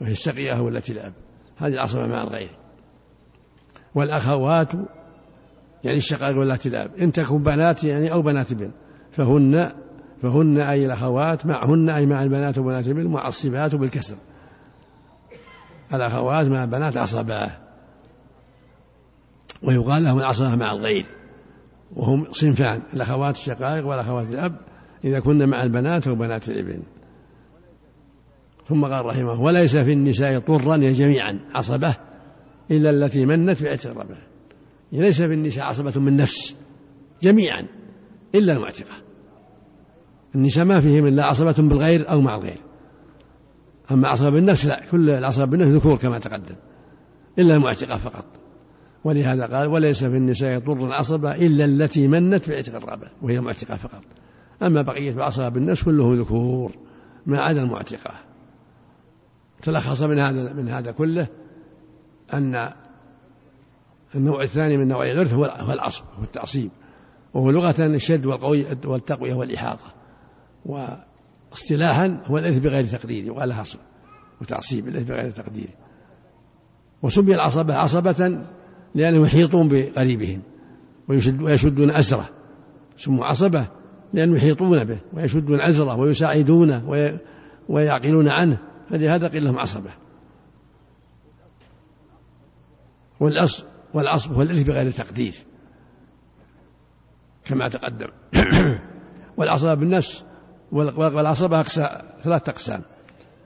وهي الشقية والتي الأب هذه العصبة مع الغير والأخوات يعني الشقائق واللاتي الأب إن تكن بنات يعني أو بنات ابن فهن فهن أي الأخوات معهن أي مع البنات وبنات ابن معصبات بالكسر الأخوات مع البنات عصبة ويقال لهم العصبة مع الغير وهم صنفان الأخوات الشقائق والأخوات الأب إذا كن مع البنات وبنات الابن ثم قال رحمه وليس في النساء طرا جميعا عصبة إلا التي منت باعترابه ليس في النساء عصبة من نفس جميعا إلا المعتقة النساء ما فيهم إلا عصبة بالغير أو مع الغير أما عصبة بالنفس لا كل العصبة بالنفس ذكور كما تقدم إلا المعتقة فقط ولهذا قال وليس في النساء ضر عصبة إلا التي منت بعتق الرابع وهي المعتقة فقط أما بقية العصبة بالنفس كلهم ذكور ما عدا المعتقة تلخص من هذا من هذا كله أن النوع الثاني من نوع الإرث هو العصب هو التعصيب وهو لغة الشد والقوي والتقوية والإحاطة واصطلاحا هو الإرث بغير تقدير يقال له عصب وتعصيب الإرث بغير تقدير وسمي العصبة عصبة لأنهم يحيطون بقريبهم ويشد ويشدون أسره سموا عصبة لأنهم يحيطون به ويشدون أسره ويساعدونه وي ويعقلون عنه فلهذا قيل لهم عصبة والعصب والعصب هو الإثم بغير تقدير كما تقدم والعصبة بالنفس والعصبة ثلاث أقسام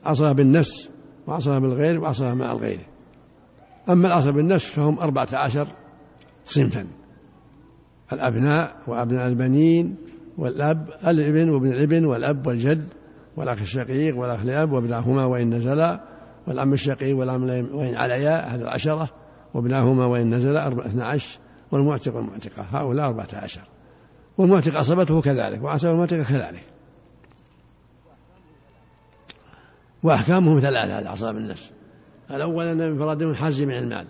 عصبة بالنفس وعصبة بالغير وعصبة مع الغير أما العصبة بالنفس فهم أربعة عشر صنفا الأبناء وأبناء البنين والأب الابن وابن الابن والأب والجد والأخ الشقيق والأخ الأب وابناهما وإن نزلا والعم الشقيق والعم وإن عليا هذه العشرة وابناهما وإن نزل أربعة اثنا عشر والمعتق والمعتقة هؤلاء أربعة عشر والمعتق عصبته كذلك وعصب المعتقة كذلك وأحكامهم ثلاثة العصاب النفس الأول أن انفرادهم حاز من المال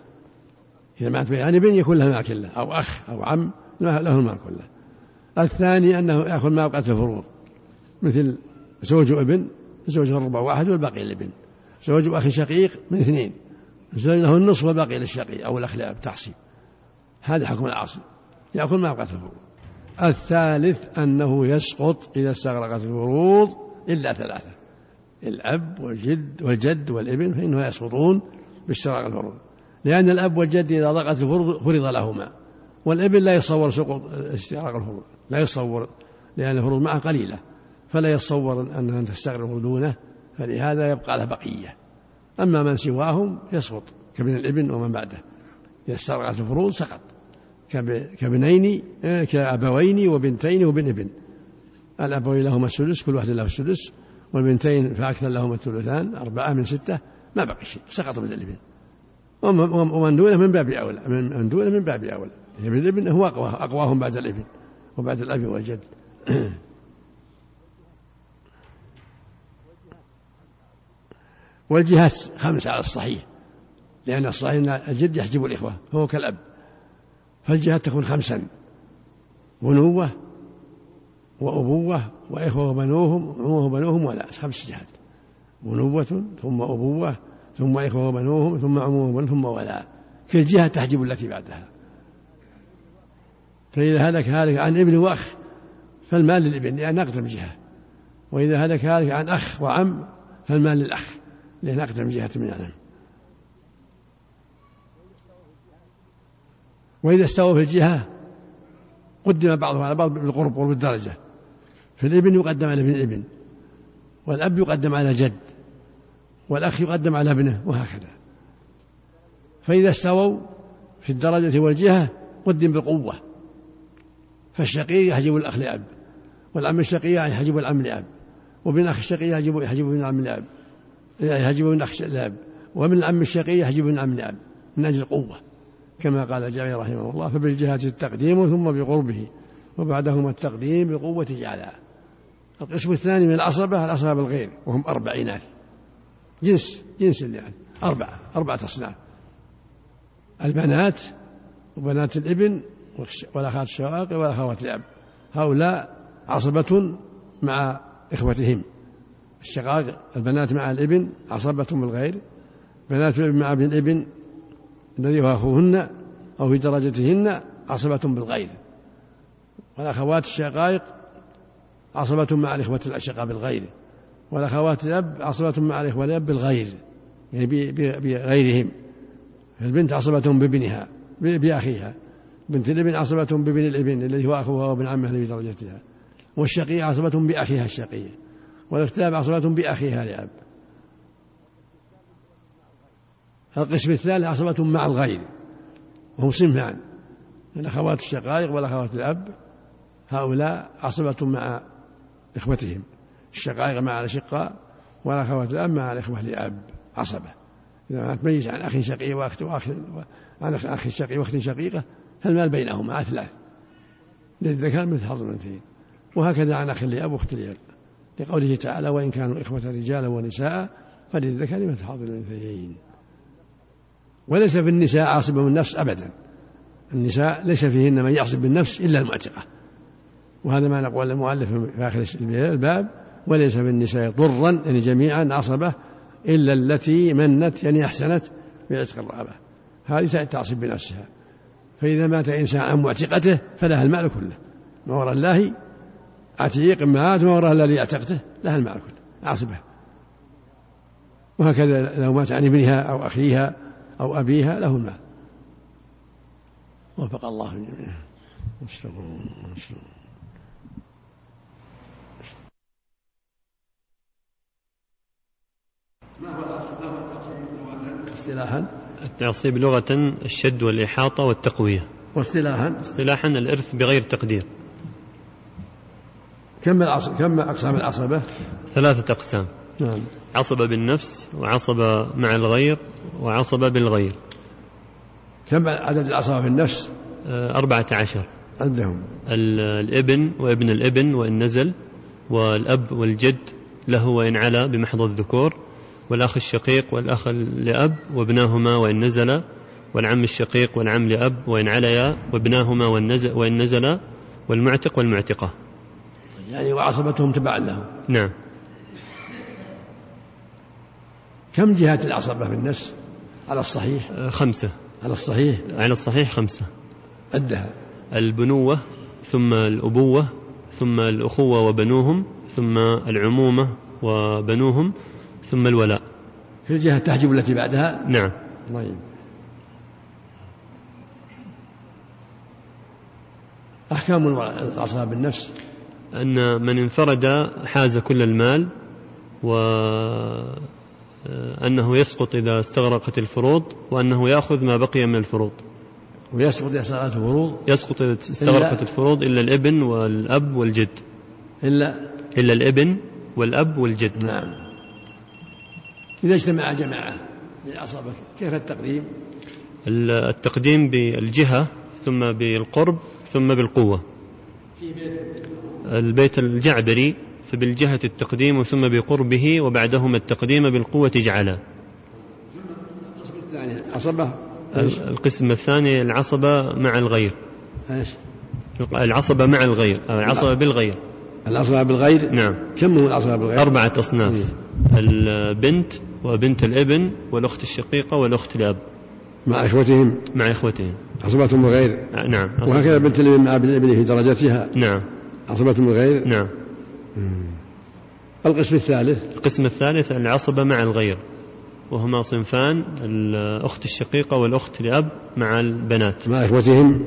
إذا مات بيان ابن يكون له المال كله أو أخ أو عم له المال كله الثاني أنه يأخذ ما أوقات الفروض مثل زوج ابن زوجه الربع واحد والباقي الابن زوج أخ شقيق من اثنين زوج له النصف والباقي للشقي أو الأخ لأب تحصيل هذا حكم العاصي يأكل ما أوقات الفروض الثالث أنه يسقط إذا استغرقت الفروض إلا ثلاثة الأب والجد والجد والابن فإنه يسقطون باستغراق الفروض لأن الأب والجد إذا ضاقت الفروض فرض لهما والابن لا يتصور سقوط استغراق الفروض لا يتصور لأن الفروض معه قليلة فلا يتصور أنها تستغرق دونه فلهذا يبقى له بقيه أما من سواهم يسقط كابن الابن ومن بعده إذا استرعت الفروض سقط كابنين آه، كأبوين وبنتين وبن ابن الأبوين لهما السدس كل واحد له السدس والبنتين فأكثر لهما الثلثان أربعة من ستة ما بقي شيء سقط ابن الابن ومن دونه من باب أولى من دونه من باب أولى ابن الابن هو أقوى أقواهم بعد الابن وبعد الأب والجد والجهات خمس على الصحيح لأن الصحيح أن الجد يحجب الإخوة هو كالأب فالجهات تكون خمسا بنوة وأبوة وإخوة وبنوهم وبنوهم ولا خمس جهات بنوة ثم أبوة ثم إخوة وبنوهم ثم عموهم ثم ولاء كل جهة تحجب التي بعدها فإذا هلك هالك عن ابن وأخ فالمال للابن لأن أقدم جهة وإذا هلك هالك عن أخ وعم فالمال للأخ لأن أقدم جهة من يعلم وإذا استوى في الجهة قدم بعضها على بعض بالقرب قرب الدرجة فالابن يقدم على ابن الابن والأب يقدم على جد والأخ يقدم على ابنه وهكذا فإذا استووا في الدرجة والجهة قدم بالقوة فالشقي يحجب الأخ لأب والعم الشقي يحجب العم لأب وابن أخ الشقي يحجب يحجب ابن العم لأب يحجب من أخ الأب ومن العم الشقي يحجب من عم الأب من أجل القوة كما قال الجابر رحمه الله فبالجهات التقديم ثم بقربه وبعدهما التقديم بقوة جعلها القسم الثاني من العصبة العصبة بالغير وهم أربع إناث جنس جنس يعني أربعة أربعة أصناف البنات وبنات الابن والأخوات الشقائق والأخوات الأب هؤلاء عصبة مع إخوتهم الشقاق البنات مع الابن عصبة بالغير بنات الابن مع ابن الابن الذي هو أخوهن أو في درجتهن عصبة بالغير والأخوات الشقائق عصبة مع الإخوة الأشقاء بالغير والأخوات الأب عصبة مع الإخوة الأب بالغير يعني بغيرهم البنت عصبة بابنها بأخيها بنت الابن عصبة بابن الابن الذي هو أخوها وابن عمها الذي في درجتها والشقية عصبة بأخيها الشقية والاكتاب عصبة بأخيها لأب القسم الثالث عصبة مع الغير وهم صنفان الأخوات الشقائق والأخوات الأب هؤلاء عصبة مع إخوتهم الشقائق مع الأشقاء والأخوات الأب مع الإخوة لأب عصبة إذا تميز عن أخ شقي وأخت وأخ عن أخ شقي وأخت شقيقة فالمال بينهما ثلاث للذكر مثل حظ الأنثيين وهكذا عن أخ لأب وأخت لأب لقوله تعالى وإن كانوا إخوة رجالا ونساء فللذكر مثل حظ الأنثيين وليس في النساء عاصبة بالنفس أبدا النساء ليس فيهن من يعصب بالنفس إلا المعتقة وهذا ما نقول المؤلف في آخر الباب وليس في النساء ضرا يعني جميعا عصبة إلا التي منت يعني أحسنت بعتق الرقبة هذه تعصب بنفسها فإذا مات إنسان عن معتقته فلها المال كله ما وراء الله عتيق مات ما وراء الذي اعتقته لها المال كله عصبة وهكذا لو مات عن ابنها أو أخيها أو أبيها له المال وفق الله الجميع استغفر الله اصطلاحا التعصيب لغة الشد والإحاطة والتقوية واصطلاحا اصطلاحا الإرث بغير تقدير كم العصب كم أقسام العصبة؟ ثلاثة أقسام نعم عصبة بالنفس وعصبة مع الغير وعصبة بالغير كم عدد العصبة في النفس؟ آه، أربعة عشر عندهم ال- الابن وابن الابن وإن نزل والأب والجد له وإن علا بمحض الذكور والأخ الشقيق والأخ لأب وابناهما وإن نزلا والعم الشقيق والعم لأب وإن عليا وابناهما وإن نزل- وإن نزلا والمعتق والمعتقة يعني وعصبتهم تبعا لهم نعم كم جهات العصبة في النفس؟ على الصحيح آه، خمسة على الصحيح على الصحيح خمسة عدها البنوة ثم الأبوة ثم الأخوة وبنوهم ثم العمومة وبنوهم ثم الولاء في الجهة التحجب التي بعدها نعم طيب أحكام العصبة بالنفس أن من انفرد حاز كل المال و آه، أنه يسقط إذا استغرقت الفروض وأنه يأخذ ما بقي من الفروض ويسقط إحصاءات فروض يسقط إذا استغرقت إلا- الفروض إلا الابن والأب والجد إلا إلا الابن والأب والجد نعم إذا اجتمع جماعة من العصبة كيف التقديم؟ التقديم بالجهة ثم بالقرب ثم بالقوة البيت الجعبري فبالجهة التقديم ثم بقربه وبعدهما التقديم بالقوة جعلا القسم الثاني عصبة ايش؟ القسم الثاني العصبة مع الغير ايش؟ العصبة مع الغير أو العصبة بالغير العصبة بالغير نعم كم هو العصبة بالغير؟ أربعة أصناف البنت وبنت الابن والأخت الشقيقة والأخت الأب مع إخوتهم مع إخوتهم عصبة بالغير نعم عصبة- وهكذا بنت الابن مع ابن ابنه في درجتها نعم عصبة بالغير نعم القسم الثالث القسم الثالث العصبة مع الغير وهما صنفان الأخت الشقيقة والأخت لأب مع البنات مع إخوتهم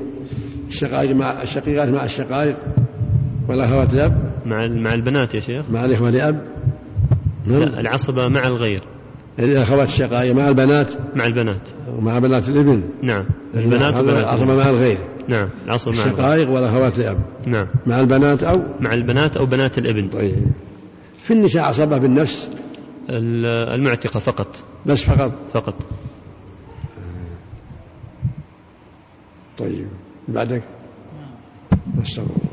الشقائق مع الشقيقات مع الشقائق والأخوات الأب مع مع البنات يا شيخ مع الإخوة لأب نعم. يعني لا العصبة مع الغير الأخوات الشقائق مع البنات مع البنات ومع بنات الابن نعم البنات هذا وبنات العصبة مع الغير نعم العصبة مع الغير. الشقائق والأخوات الأب نعم مع البنات أو مع البنات أو بنات الابن طيب في النساء عصبة بالنفس ال- المعتقة فقط بس فقط فقط طيب بعدك نسأل الله.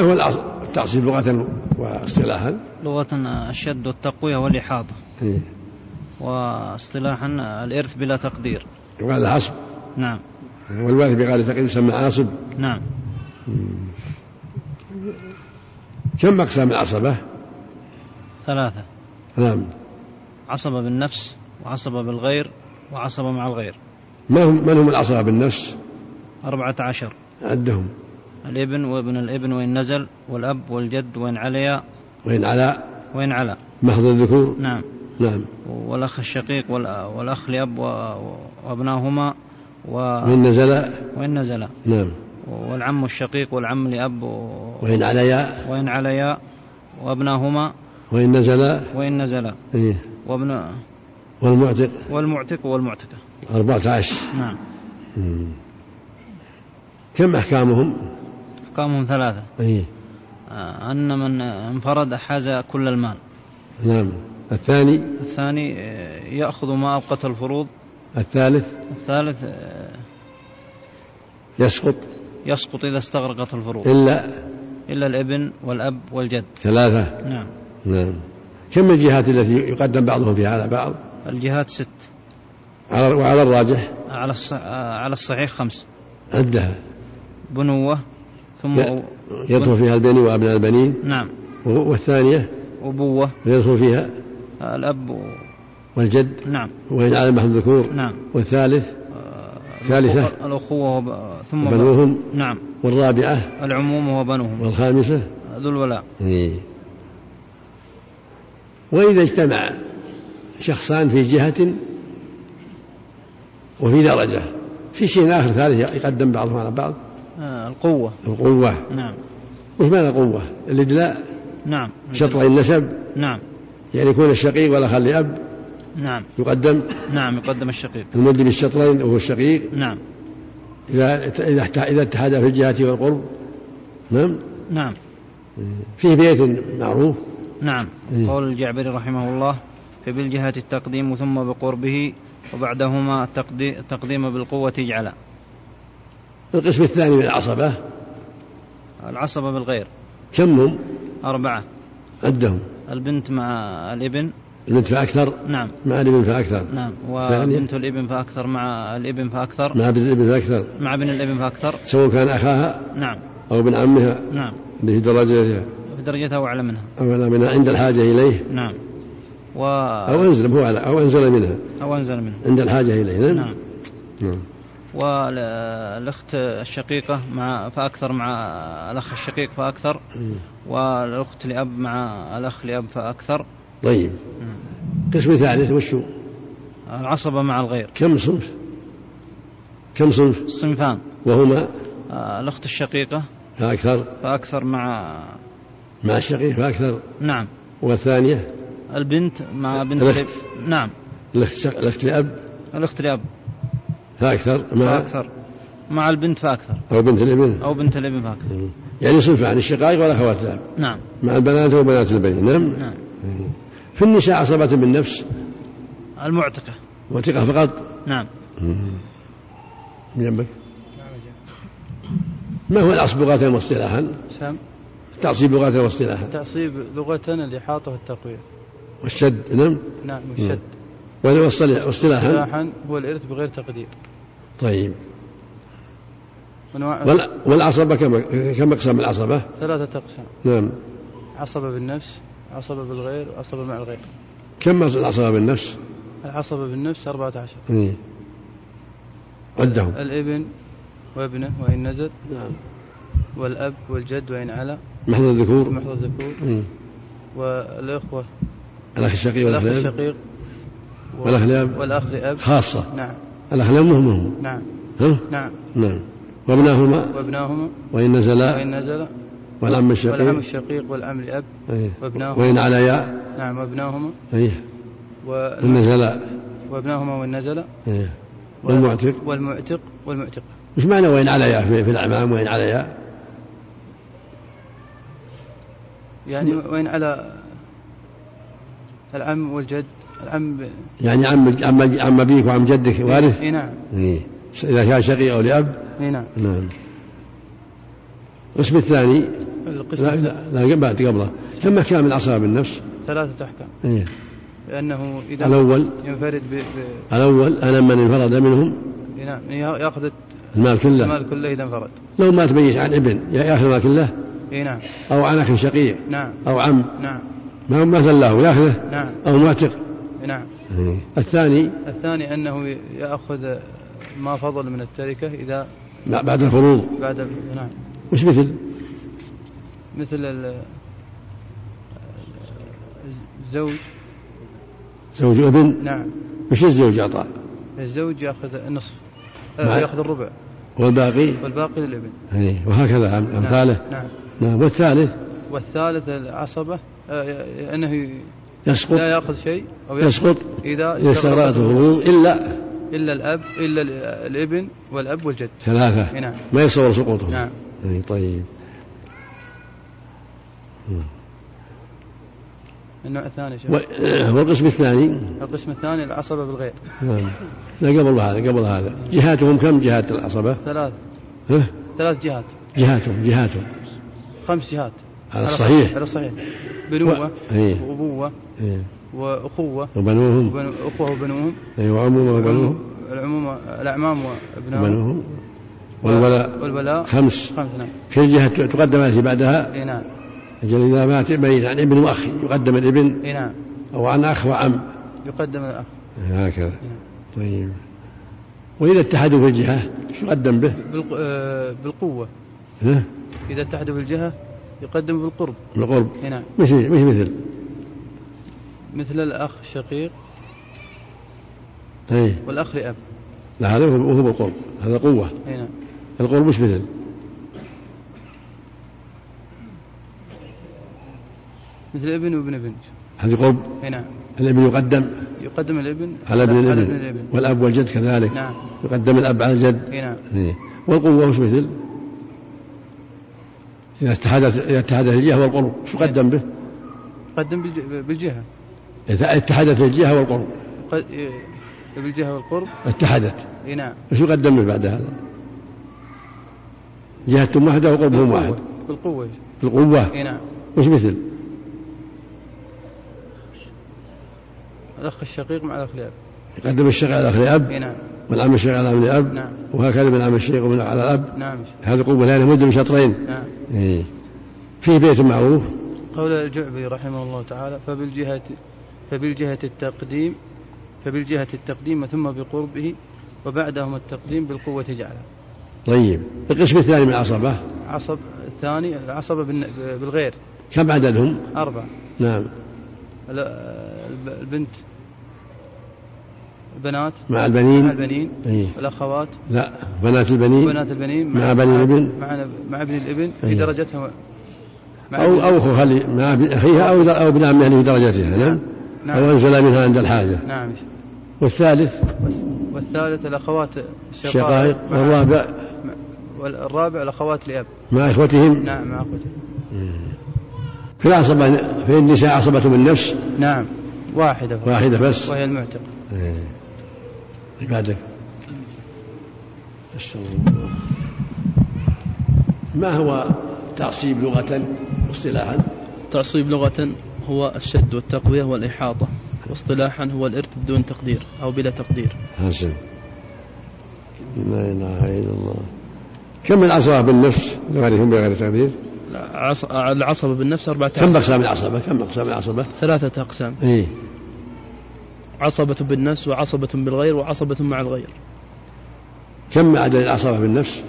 ما هو العص- التعصيب لغة واصطلاحا؟ لغة الشد والتقوية والإحاطة إيه. واصطلاحا الإرث بلا تقدير وقال العصب نعم والوارث بقال ثقيل يسمى عاصب نعم كم أقسام العصبة؟ ثلاثة نعم عصبة بالنفس وعصبة بالغير وعصبة مع الغير ما هم من هم العصبة بالنفس أربعة عشر عدهم الابن وابن الابن وإن نزل والأب والجد وإن عليا وإن على وإن على محض الذكور نعم نعم والأخ الشقيق والأ- والأخ لأب و- وأبناهما و... وإن نزل وإن نزل نعم والعم الشقيق والعم لأب و- وإن عليا وإن عليا وأبناهما وإن نزل وإن نزل إيه وابن والمعتق والمعتق والمعتقة أربعة عشر نعم مم. كم أحكامهم؟ أحكامهم ثلاثة إيه آه، أن من انفرد حاز كل المال نعم الثاني الثاني آه، يأخذ ما أبقته الفروض الثالث الثالث آه، يسقط يسقط إذا استغرقت الفروض إلا إلا الابن والأب والجد ثلاثة نعم نعم كم الجهات التي يقدم بعضهم فيها على بعض الجهات ست على وعلى الراجح على الص- آه، على الصحيح خمس عدها بنوة ثم لا، أو- يدخل فيها البني وأبناء البنين نعم و- والثانية أبوة يدخل فيها آه، الأب و... والجد نعم وإن على محض الذكور نعم والثالث آه، ثالثة. الأخوة- الأخوة وب... ثم بنوهم نعم والرابعة العموم وبنوهم والخامسة ذو الولاء إيه. وإذا اجتمع شخصان في جهة وفي درجة في شيء آخر ثالث يقدم بعضهم على بعض آه، القوة القوة نعم وش معنى القوة؟ الإدلاء نعم شطرين النسب نعم يعني يكون الشقيق والأخ لأب نعم يقدم نعم يقدم الشقيق المد بالشطرين وهو الشقيق نعم إذا إذا احت- إذا اتحدا في الجهة والقرب نعم نعم في بيت معروف نعم إيه. قول الجعبري رحمه الله فبالجهة التقديم ثم بقربه وبعدهما التقدي- التقديم بالقوة اجعل القسم الثاني من العصبة العصبة بالغير كم هم؟ أربعة عدهم البنت مع الابن البنت فأكثر نعم مع الابن فأكثر نعم ثانية. وبنت الابن فأكثر مع الابن فأكثر مع بنت الابن فأكثر مع ابن الابن فأكثر سواء كان أخاها نعم أو ابن عمها نعم اللي في درجة بدرجتها أعلى منها أو منها عند الحاجة إليه نعم و أو أنزل هو على أو أنزل منها أو أنزل منها عند الحاجة إليه نعم نعم نعم والأخت الشقيقة مع فأكثر مع الأخ الشقيق فأكثر نعم. والأخت لأب مع الأخ لأب فأكثر طيب قسم ثالث وشو؟ العصبة مع الغير كم صنف؟ كم صنف؟ صنفان وهما الأخت الشقيقة فأكثر فأكثر مع مع الشقيق فأكثر نعم والثانية البنت مع بنت الأخت. الأب نعم الأخت الشق- الأخت لأب الأخت لأب فأكثر مع فأكثر مع البنت فأكثر أو بنت الابن أو بنت الابن فأكثر يعني صنف عن الشقائق والأخوات الأب نعم مع البنات وبنات البنين نعم نعم في النساء عصبة بالنفس المعتقة وثقة فقط نعم من جنبك ما هو العصب لغة واصطلاحا؟ سام التعصيب لغة واصطلاحا تعصيب لغة الإحاطة والتقوية والشد نعم نعم والشد وأنا واصطلاح- واصطلاحا اصطلاحا هو الإرث بغير تقدير طيب أنواع وال- والعصبة كم كم أقسام العصبة؟ ثلاثة أقسام نعم عصبة بالنفس عصبة بالغير وعصبة مع الغير كم العصبة بالنفس؟ العصبة بالنفس أربعة عشر إيه. عدهم الابن وابنه وإن نزل نعم والأب والجد وإن على محض الذكور محض الذكور مم. والإخوة الأخ الشقي الأخ والأخ الشقيق والأخ لأب والأخ لأب خاصة نعم الأخ لأب مهم هم نعم ها؟ نعم نعم وابناهما وابناهما وإن نزلا وإن نزل والعم والعم الشقيق الشقيق والعم لأب إيه. وابناهما. وإن عليا نعم وابناهما أيه و- إن نزلا وابناهما وإن نزل أيه. والمعتق والمعتق والمعتقة وش معنى وإن عليا في, في الأعمام وإن عليا يعني وين على العم والجد العم ب... يعني عم عم عم أبيك وعم جدك وارث اي نعم إيه. إذا كان شقي أو لأب اي نعم نعم القسم الثاني القسم لا لا لا لا بعد قبله كم أحكام العصابة النفس؟ ثلاثة أحكام إيه. لأنه إذا الأول ينفرد ب... ب... الأول أنا من انفرد منهم إي نعم يا- يأخذ المال كله المال كله إذا انفرد لو مات ميت عن ابن يا- ياخذ المال كله اي نعم أو عن أخ شقيق نعم أو عم نعم ما مات الله ياخذه نعم او معتق نعم إيه. الثاني الثاني أنه يأخذ ما فضل من التركة إذا لا، بعد الفروض بعد ال- نعم وش مثل مثل ال- الزوج زوج ابن نعم وش الزوج اعطاه الزوج يأخذ النصف نعم. آه، يأخذ الربع والباقي والباقي للابن يعني وهكذا أم- نعم. امثاله نعم نعم والثالث والثالث العصبة آه، ي- ي- أنه لا يسقط يأخذ شيء أو يأخذ يسقط إذا اذا استغرقت الفروض الا إلا الأب إلا ال- الابن والأب والجد ثلاثه نعم ما يصور سقوطه نعم يعني طيب النوع الثاني شيخ. و- آه، والقسم الثاني القسم الثاني العصبة بالغير نعم. لا قبل هذا قبل هذا جهاتهم كم جهات العصبة ثلاث ها؟ ثلاث جهات جهاتهم جهاتهم خمس جهات على الصحيح على الصحيح بنوة و- إيه. وأبوة إيه. وأخوة وبنوهم وبن- أخوة وبنوهم أي وعمومة وبنوهم العموم الأعمام وأبنائهم وبنوهم والولاء والولاء خمس خمس نعم في جهة تقدم التي بعدها إي نعم أجل إذا مات ميت عن ابن وأخ يقدم الابن إي نعم أو عن أخ وعم يقدم الأخ هكذا نعم. طيب وإذا اتحدوا في الجهة شو يقدم به؟ بالق- آه، بالقوة ها؟ إذا اتحدوا بالجهة يقدم بالقرب بالقرب إي نعم مش مش مثل مثل الأخ الشقيق أي والأخ لأب إيه. لا هذا هو هو بالقرب هذا قوة إي نعم القرب مش مثل مثل ابن وابن ابن هذه قرب إي نعم الابن يقدم يقدم الابن على ابن على الابن ابن الابن والاب والجد كذلك نعم يقدم الاب على الجد إي نعم إيه. والقوه وش مثل؟ اذا اتحدت اذا اتحدت الجهه والقرب شو قدم به؟ يقدم بالج- بالجهة اذا اتحدت الجهه والقرب قد- إيه، بالجهة والقرب اتحدت إي نعم شو قدم به بعد هذا؟ جهتهم واحده وقربهم واحد بالقوة بالقوة القوه إي نعم وش مثل؟ الأخ الشقيق مع الأخ الأب يقدم الشيخ على اخي الاب إي نعم والعم الشيخ على ابن الاب نعم وهكذا من عم الشيخ ومن على الاب نعم هذه قوه لا لابد من شطرين نعم إيه. فيه بيت معروف قول الجعبي رحمه الله تعالى فبالجهة فبالجهة التقديم فبالجهة التقديم ثم بقربه وبعدهم التقديم بالقوة جعله طيب القسم الثاني من العصبه عصب الثاني العصبة بالن- بالغير كم عددهم؟ أربعة نعم ال- الب- البنت البنات مع مع البنين البنين إيه. والأخوات لا بنات البنين بنات البنين مع بني الابن. مع, مع ابن الابن في أيوه. درجتها مع أو ابن- أو أخوها لي- مع ابن أخيها أو أو ابن عمها اللي في درجتها نعم أو نعم أنزل منها عند الحاجة نعم والثالث والث- والثالث الاخوات الشقائق الشقائق مع- والرابع مع- والرابع الاخوات الاب مع إخوتهم نعم مع اخوته في العصبة في النساء عصبة بالنفس نعم واحده واحدة بس وهي المعتق إيه. بعدك الله. ما هو تعصيب لغة واصطلاحا؟ التعصيب لغة هو الشد والتقوية والإحاطة واصطلاحا هو الإرث بدون تقدير أو بلا تقدير حسن لا اله الا الله كم العصبه بالنفس غيرهم بغير تقدير العص- العصبة بالنفس أربعة كم اقسام العصبه كم اقسام العصبه ثلاثة أقسام اي عصبة بالنفس وعصبة بالغير وعصبة مع الغير كم عدد العصبه بالنفس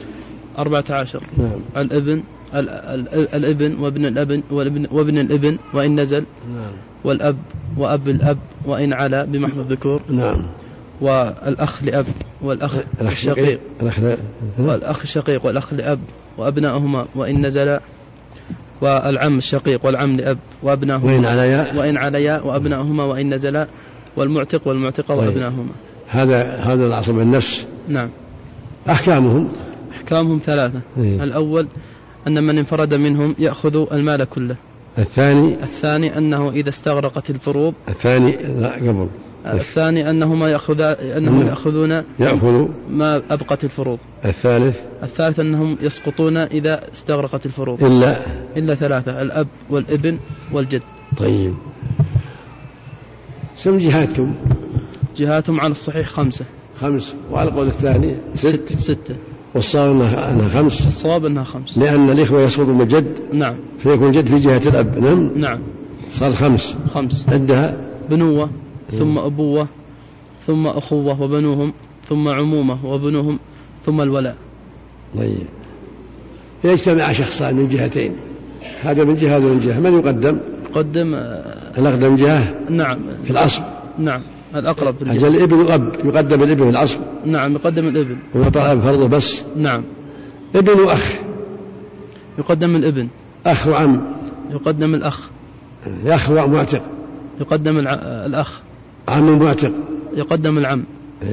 أربعة عشر نعم الابن ال- ال- الابن وابن الابن والابن وابن الابن وإن نزل نعم والأب وأب الأب وإن علا بمحض الذكور نعم والأخ لأب والأخ الشقيق الاخ لا- والأخ الشقيق والأخ لأب وأبناؤهما وإن نزلا والعم الشقيق والعم لأب وين وأبناؤهما على ياء وإن عليا وأبناؤهما وإن نزلا والمعتق والمعتقة طيب. وأبناؤهما هذا هذا العصبه بالنفس نعم احكامهم أحكامهم ثلاثة إيه. الأول أن من انفرد منهم يأخذ المال كله الثاني الثاني أنه إذا استغرقت الفروض الثاني لا قبل الثاني أنهما يأخذ أنهم نعم. يأخذون ياخذ ما أبقت الفروض الثالث الثالث أنهم يسقطون إذا استغرقت الفروض الا إلا ثلاثة الأب والابن والجد طيب كم جهاتكم؟ جهاتهم على الصحيح خمسة خمس وعلى القول الثاني ست ستة والصواب انها أنها خمس الصواب أنها خمسة لأن الإخوة يسقط من الجد نعم فيكون الجد في جهة الأب نعم نعم صار خمس خمس عدها بنوة ثم أبوة ثم أخوة وبنوهم ثم عمومة وبنوهم ثم الولاء طيب فيجتمع شخصان من جهتين هذا من جهة هذا من جهة من يقدم قدم آه، الأقدم جهة نعم في الأصل نعم الأقرب في الجهة. أجل الإبن وأب يقدم الإبن في الأصل نعم يقدم الابن ويعطى الأب فرضه بس نعم ابن وأخ يقدم الابن أخ وعم يقدم الأخ أخ ومعتق يقدم الع... آه، الأخ عم معتق يقدم العم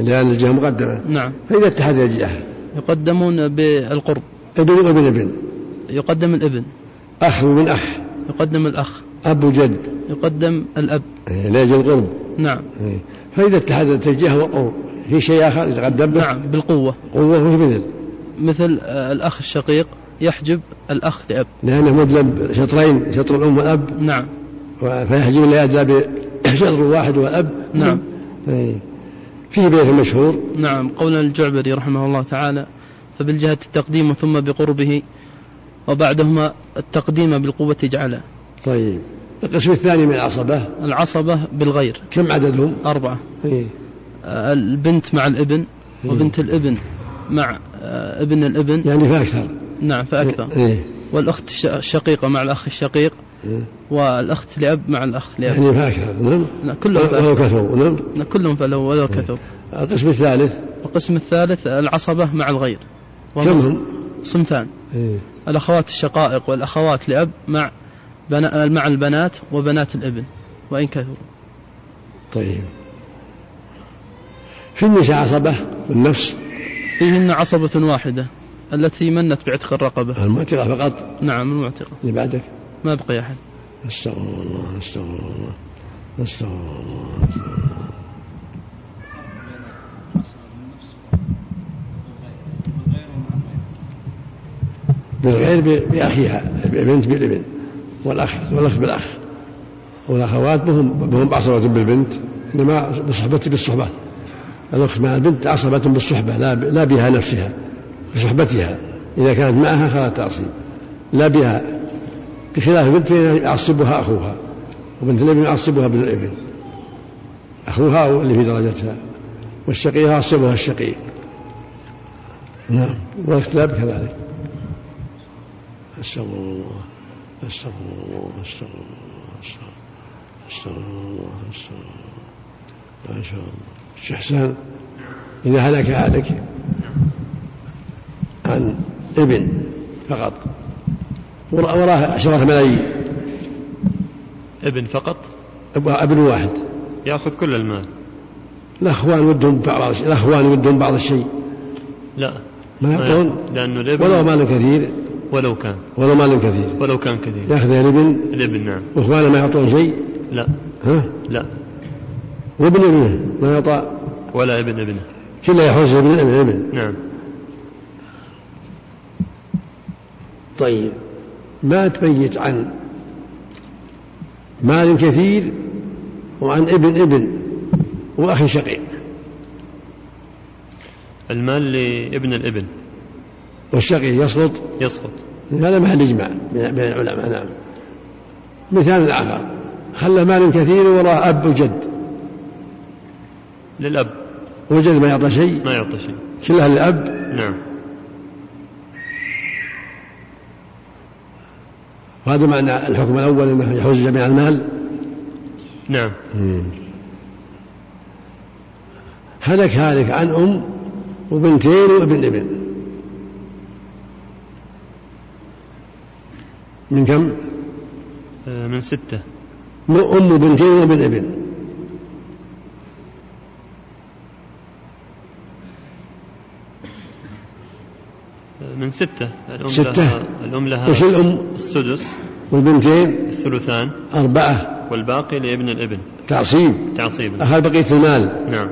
لأن الجهة مقدمة نعم فإذا اتحد الجهة يقدمون بالقرب ابن وابن ابن يقدم الابن أخ ومن أخ يقدم الأخ أب وجد يقدم الأب لا يجب القرب نعم فإذا اتحدت الجهة والقرب في شيء آخر يتقدم به نعم بالقوة قوة وبذل مثل آه، الأخ الشقيق يحجب الأخ لأب لأنه مدلم شطرين شطر الأم والأب نعم فيحجب لا يدلى بشطر واحد والأب نعم. إيه. في بيت مشهور نعم قول الجعبري رحمه الله تعالى فبالجهة التقديم ثم بقربه وبعدهما التقديم بالقوة اجعله طيب القسم الثاني من العصبة العصبة بالغير كم عددهم؟ أربعة إيه. آه، البنت مع الابن وبنت الابن مع آه، ابن الابن يعني فأكثر نعم فأكثر إيه. والأخت الش- الشقيقة مع الأخ الشقيق إيه. والأخت لأب مع الأخ لأب يعني فأكثر نعم لا، كلهم ولو فأكثر. كثروا نعم كلهم فلو ولو كثر القسم الثالث القسم الثالث العصبة مع الغير كم وهم هم؟ صنفان إيه. الأخوات الشقائق والأخوات لأب مع بنا مع البنات وبنات الابن وإن كثروا طيب في النساء عصبة والنفس فيهن عصبة واحدة التي منت بعتق الرقبة المعتقة فقط نعم المعتقة اللي بعدك ما بقي أحد استغفر الله استغفر الله استغفر الله استغفر الله. بالغير ب- بأخيها البنت بالابن والأخ والأخ بالأخ والأخوات بهم بهم بعصبة بالبنت إنما بصحبة بالصحبة الأخت مع البنت عصبة بالصحبة لا ب- لا بها نفسها بصحبتها إذا كانت معها فلا تعصيب لا بها بخلاف البنت فإنها يعصبها أخوها وبنت الابن يعصبها ابن الابن أخوها هو اللي في درجتها والشقي يعصبها الشقيق نعم والاختلاف كذلك أستغفر الله أستغفر الله أستغفر الله أستغفر- أستغفر الله أستغفر الله ما شاء الله شيخ حسان إذا هلك أهلك عن ابن فقط ورا- وراه عشرة ملايين ابن فقط أب- ابن واحد ياخذ كل المال الاخوان ودهم بعض الشيء الاخوان ودهم بعض الشيء لا ما يعطون لانه الابن ولو مال كثير ولو كان ولو مال كثير ولو كان كثير ياخذ الابن الابن نعم واخوانه ما يعطون شيء لا ها لا وابن ابنه ما يعطى ولا ابن ابنه كله يحوز ابن ابن ابن نعم طيب ما تبيت عن مال كثير وعن ابن ابن واخ شقيق المال لابن الابن والشقيق يسقط يسقط هذا محل اجماع بين بين العلماء نعم مثال اخر خلى مال كثير وراه اب وجد للاب وجد ما يعطى شيء ما يعطي شيء كلها للاب نعم وهذا معنى الحكم الاول انه يحوز جميع المال نعم هلك هالك عن ام وبنتين وابن ابن من كم؟ آه، من ستة من ام وبنتين وابن ابن آه، من ستة الأم ستة؟ لها الأم لها وش الام السدس والبنتين الثلثان اربعه والباقي لابن الابن تعصيب تعصيبا اخذ بقيه المال نعم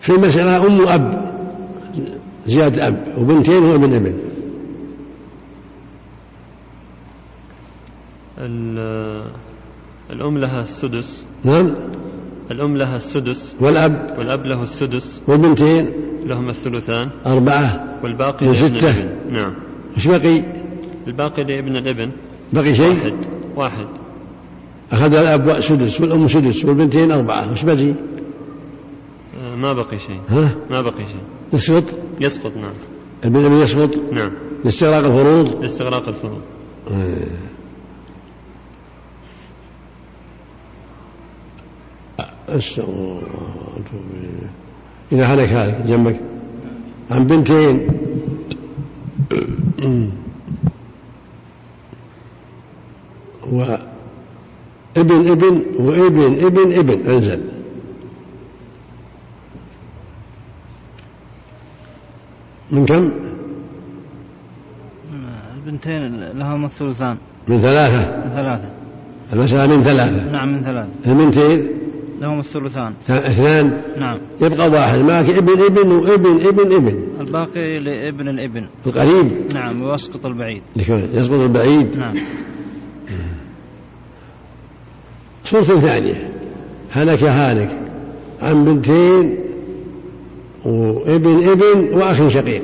في مسألة أم وأب زيادة أب وبنتين وابن ابن ال- آه، الأم لها السدس نعم الأم لها السدس والأب والأب له السدس والبنتين لهما الثلثان أربعة والباقي من لابن ستة؟ الابن نعم وش بقي؟ الباقي لابن الابن بقي شيء واحد واحد أخذ الأب سدس والأم سدس والبنتين أربعة وش بقي؟ آه، ما بقي شيء ها؟ ما بقي شيء يسقط؟ يسقط نعم الابن الذي يسقط نعم لاستغراق الفروض استغراق الفروض آه. أستغفر الله وأتوب إليه. إذا هلك هذا جنبك عن بنتين وابن ابن وابن ابن ابن انزل من كم؟ البنتين لهم الثلثان من ثلاثة من ثلاثة المسألة من ثلاثة نعم من ثلاثة البنتين لهم الثلثان اثنان نعم يبقى واحد معك ابن ابن وابن ابن ابن الباقي لابن الابن القريب نعم ويسقط البعيد لكن يسقط البعيد نعم صورة ثانية هلك هالك عن بنتين وابن ابن واخ شقيق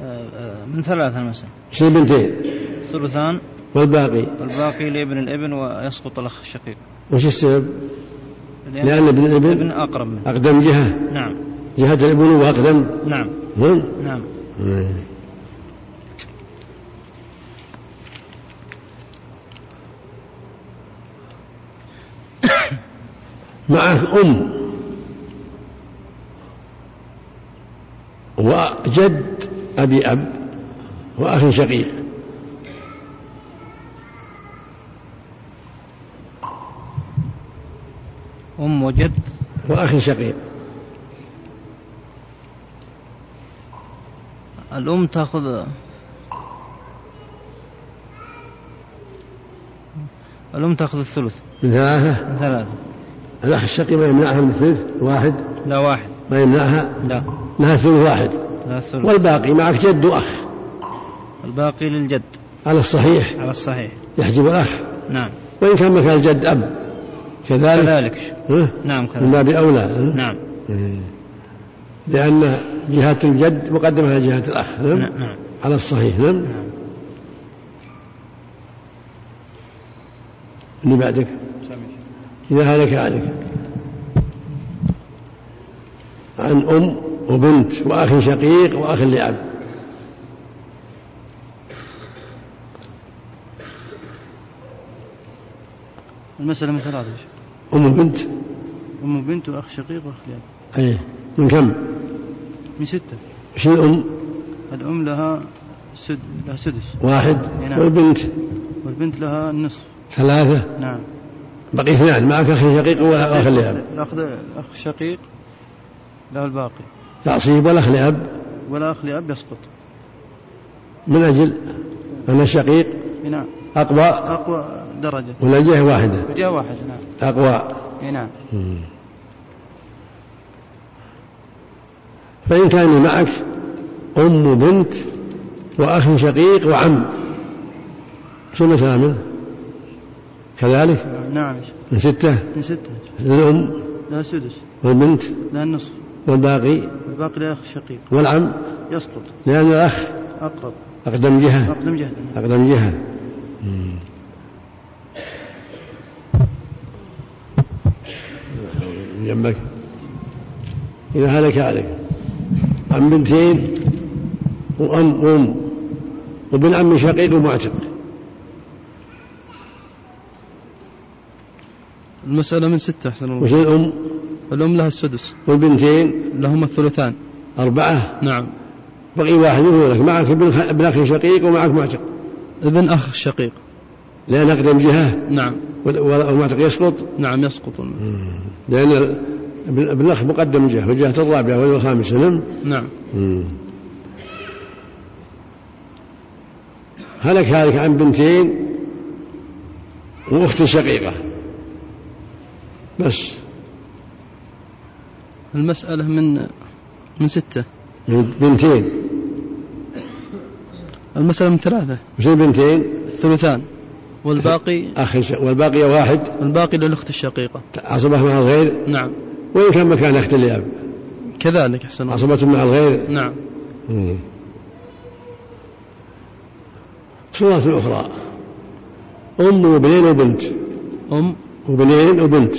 آه، آه، من ثلاثة المسألة شيء بنتين الثلثان والباقي والباقي لابن الابن ويسقط الأخ الشقيق وش السبب؟ لأن ابن ابن الابن أقرب منه أقدم جهة نعم جهة الأبوة أقدم نعم هم؟ نعم معك أم وجد أبي أب وأخ شقيق أم وجد وأخ شقيق الأم تأخذ الأم تأخذ الثلث من ثلاثة من ثلاثة الأخ الشقيق ما يمنعها من الثلث واحد لا واحد ما يمنعها لا لها ثلث واحد لا ثلث والباقي معك جد وأخ الباقي للجد على الصحيح على الصحيح يحجب الأخ نعم وإن كان مكان الجد أب كذلك كذلك ها؟ نعم من كذلك باب أولى ها؟ إيه. نعم لأن جهة الجد مقدمة على جهة الأخ نعم نعم نعم. على الصحيح نعم اللي بعدك إذا هلك هلك عن أم وبنت وأخ شقيق وأخ لأب المسألة من ثلاثة يا شيخ. أم وبنت أم وبنت وأخ شقيق وأخ لأب أي من كم؟ من ستة شو الأم الأم لها سد لها سدس واحد نعم. والبنت والبنت لها النصف ثلاثة نعم بقي اثنان معك أخ شقيق وأخ لأب الأخ الأخ شقيق له الباقي تعصيب والأخ لأب ولا أخ لأب يسقط من أجل أن الشقيق إي نعم أقوى أقوى درجة ولا جهة واحدة وجاء واحد نعم أقوى إي نعم فإن كان معك أم وبنت وأخ شقيق وعم شو مثلا منه كذلك نعم يا شيخ. من ستة من ستة للأم لها سدس والبنت لها النصف والباقي الباقي لها أخ شقيق والعم يسقط لأن الأخ أقرب أقدم جهة أقدم جهدا أقدم جهة جنبك إذا هلك عليك عن بنتين وأم وأم وابن عم شقيق ومعتق المسألة من ستة أحسن الله وش الأم الأم لها السدس والبنتين لهما الثلثان أربعة نعم بقي واحد يقول لك معك ابن خ- ابن أخ شقيق ومعك معتق ابن أخ الشقيق لأن أقدم جهة نعم وال- وال- والمعتق يسقط نعم يسقط الم- لأن ابن ابن الأخ مقدم جهة والجهة الرابعة والخامسة نعم نعم مم. هلك هلك عن بنتين واخت شقيقه بس المسألة من من ستة يعني بنتين المسألة من ثلاثة وش البنتين؟ الثلثان والباقي اخ ش- والباقي واحد الباقي للأخت الشقيقة عصبه مع الغير نعم وان كان مكان اخت لاب كذلك أحسن الله عصبة مع الغير نعم مم. صورة أخرى أم وبنين وبنت أم وبنين وبنت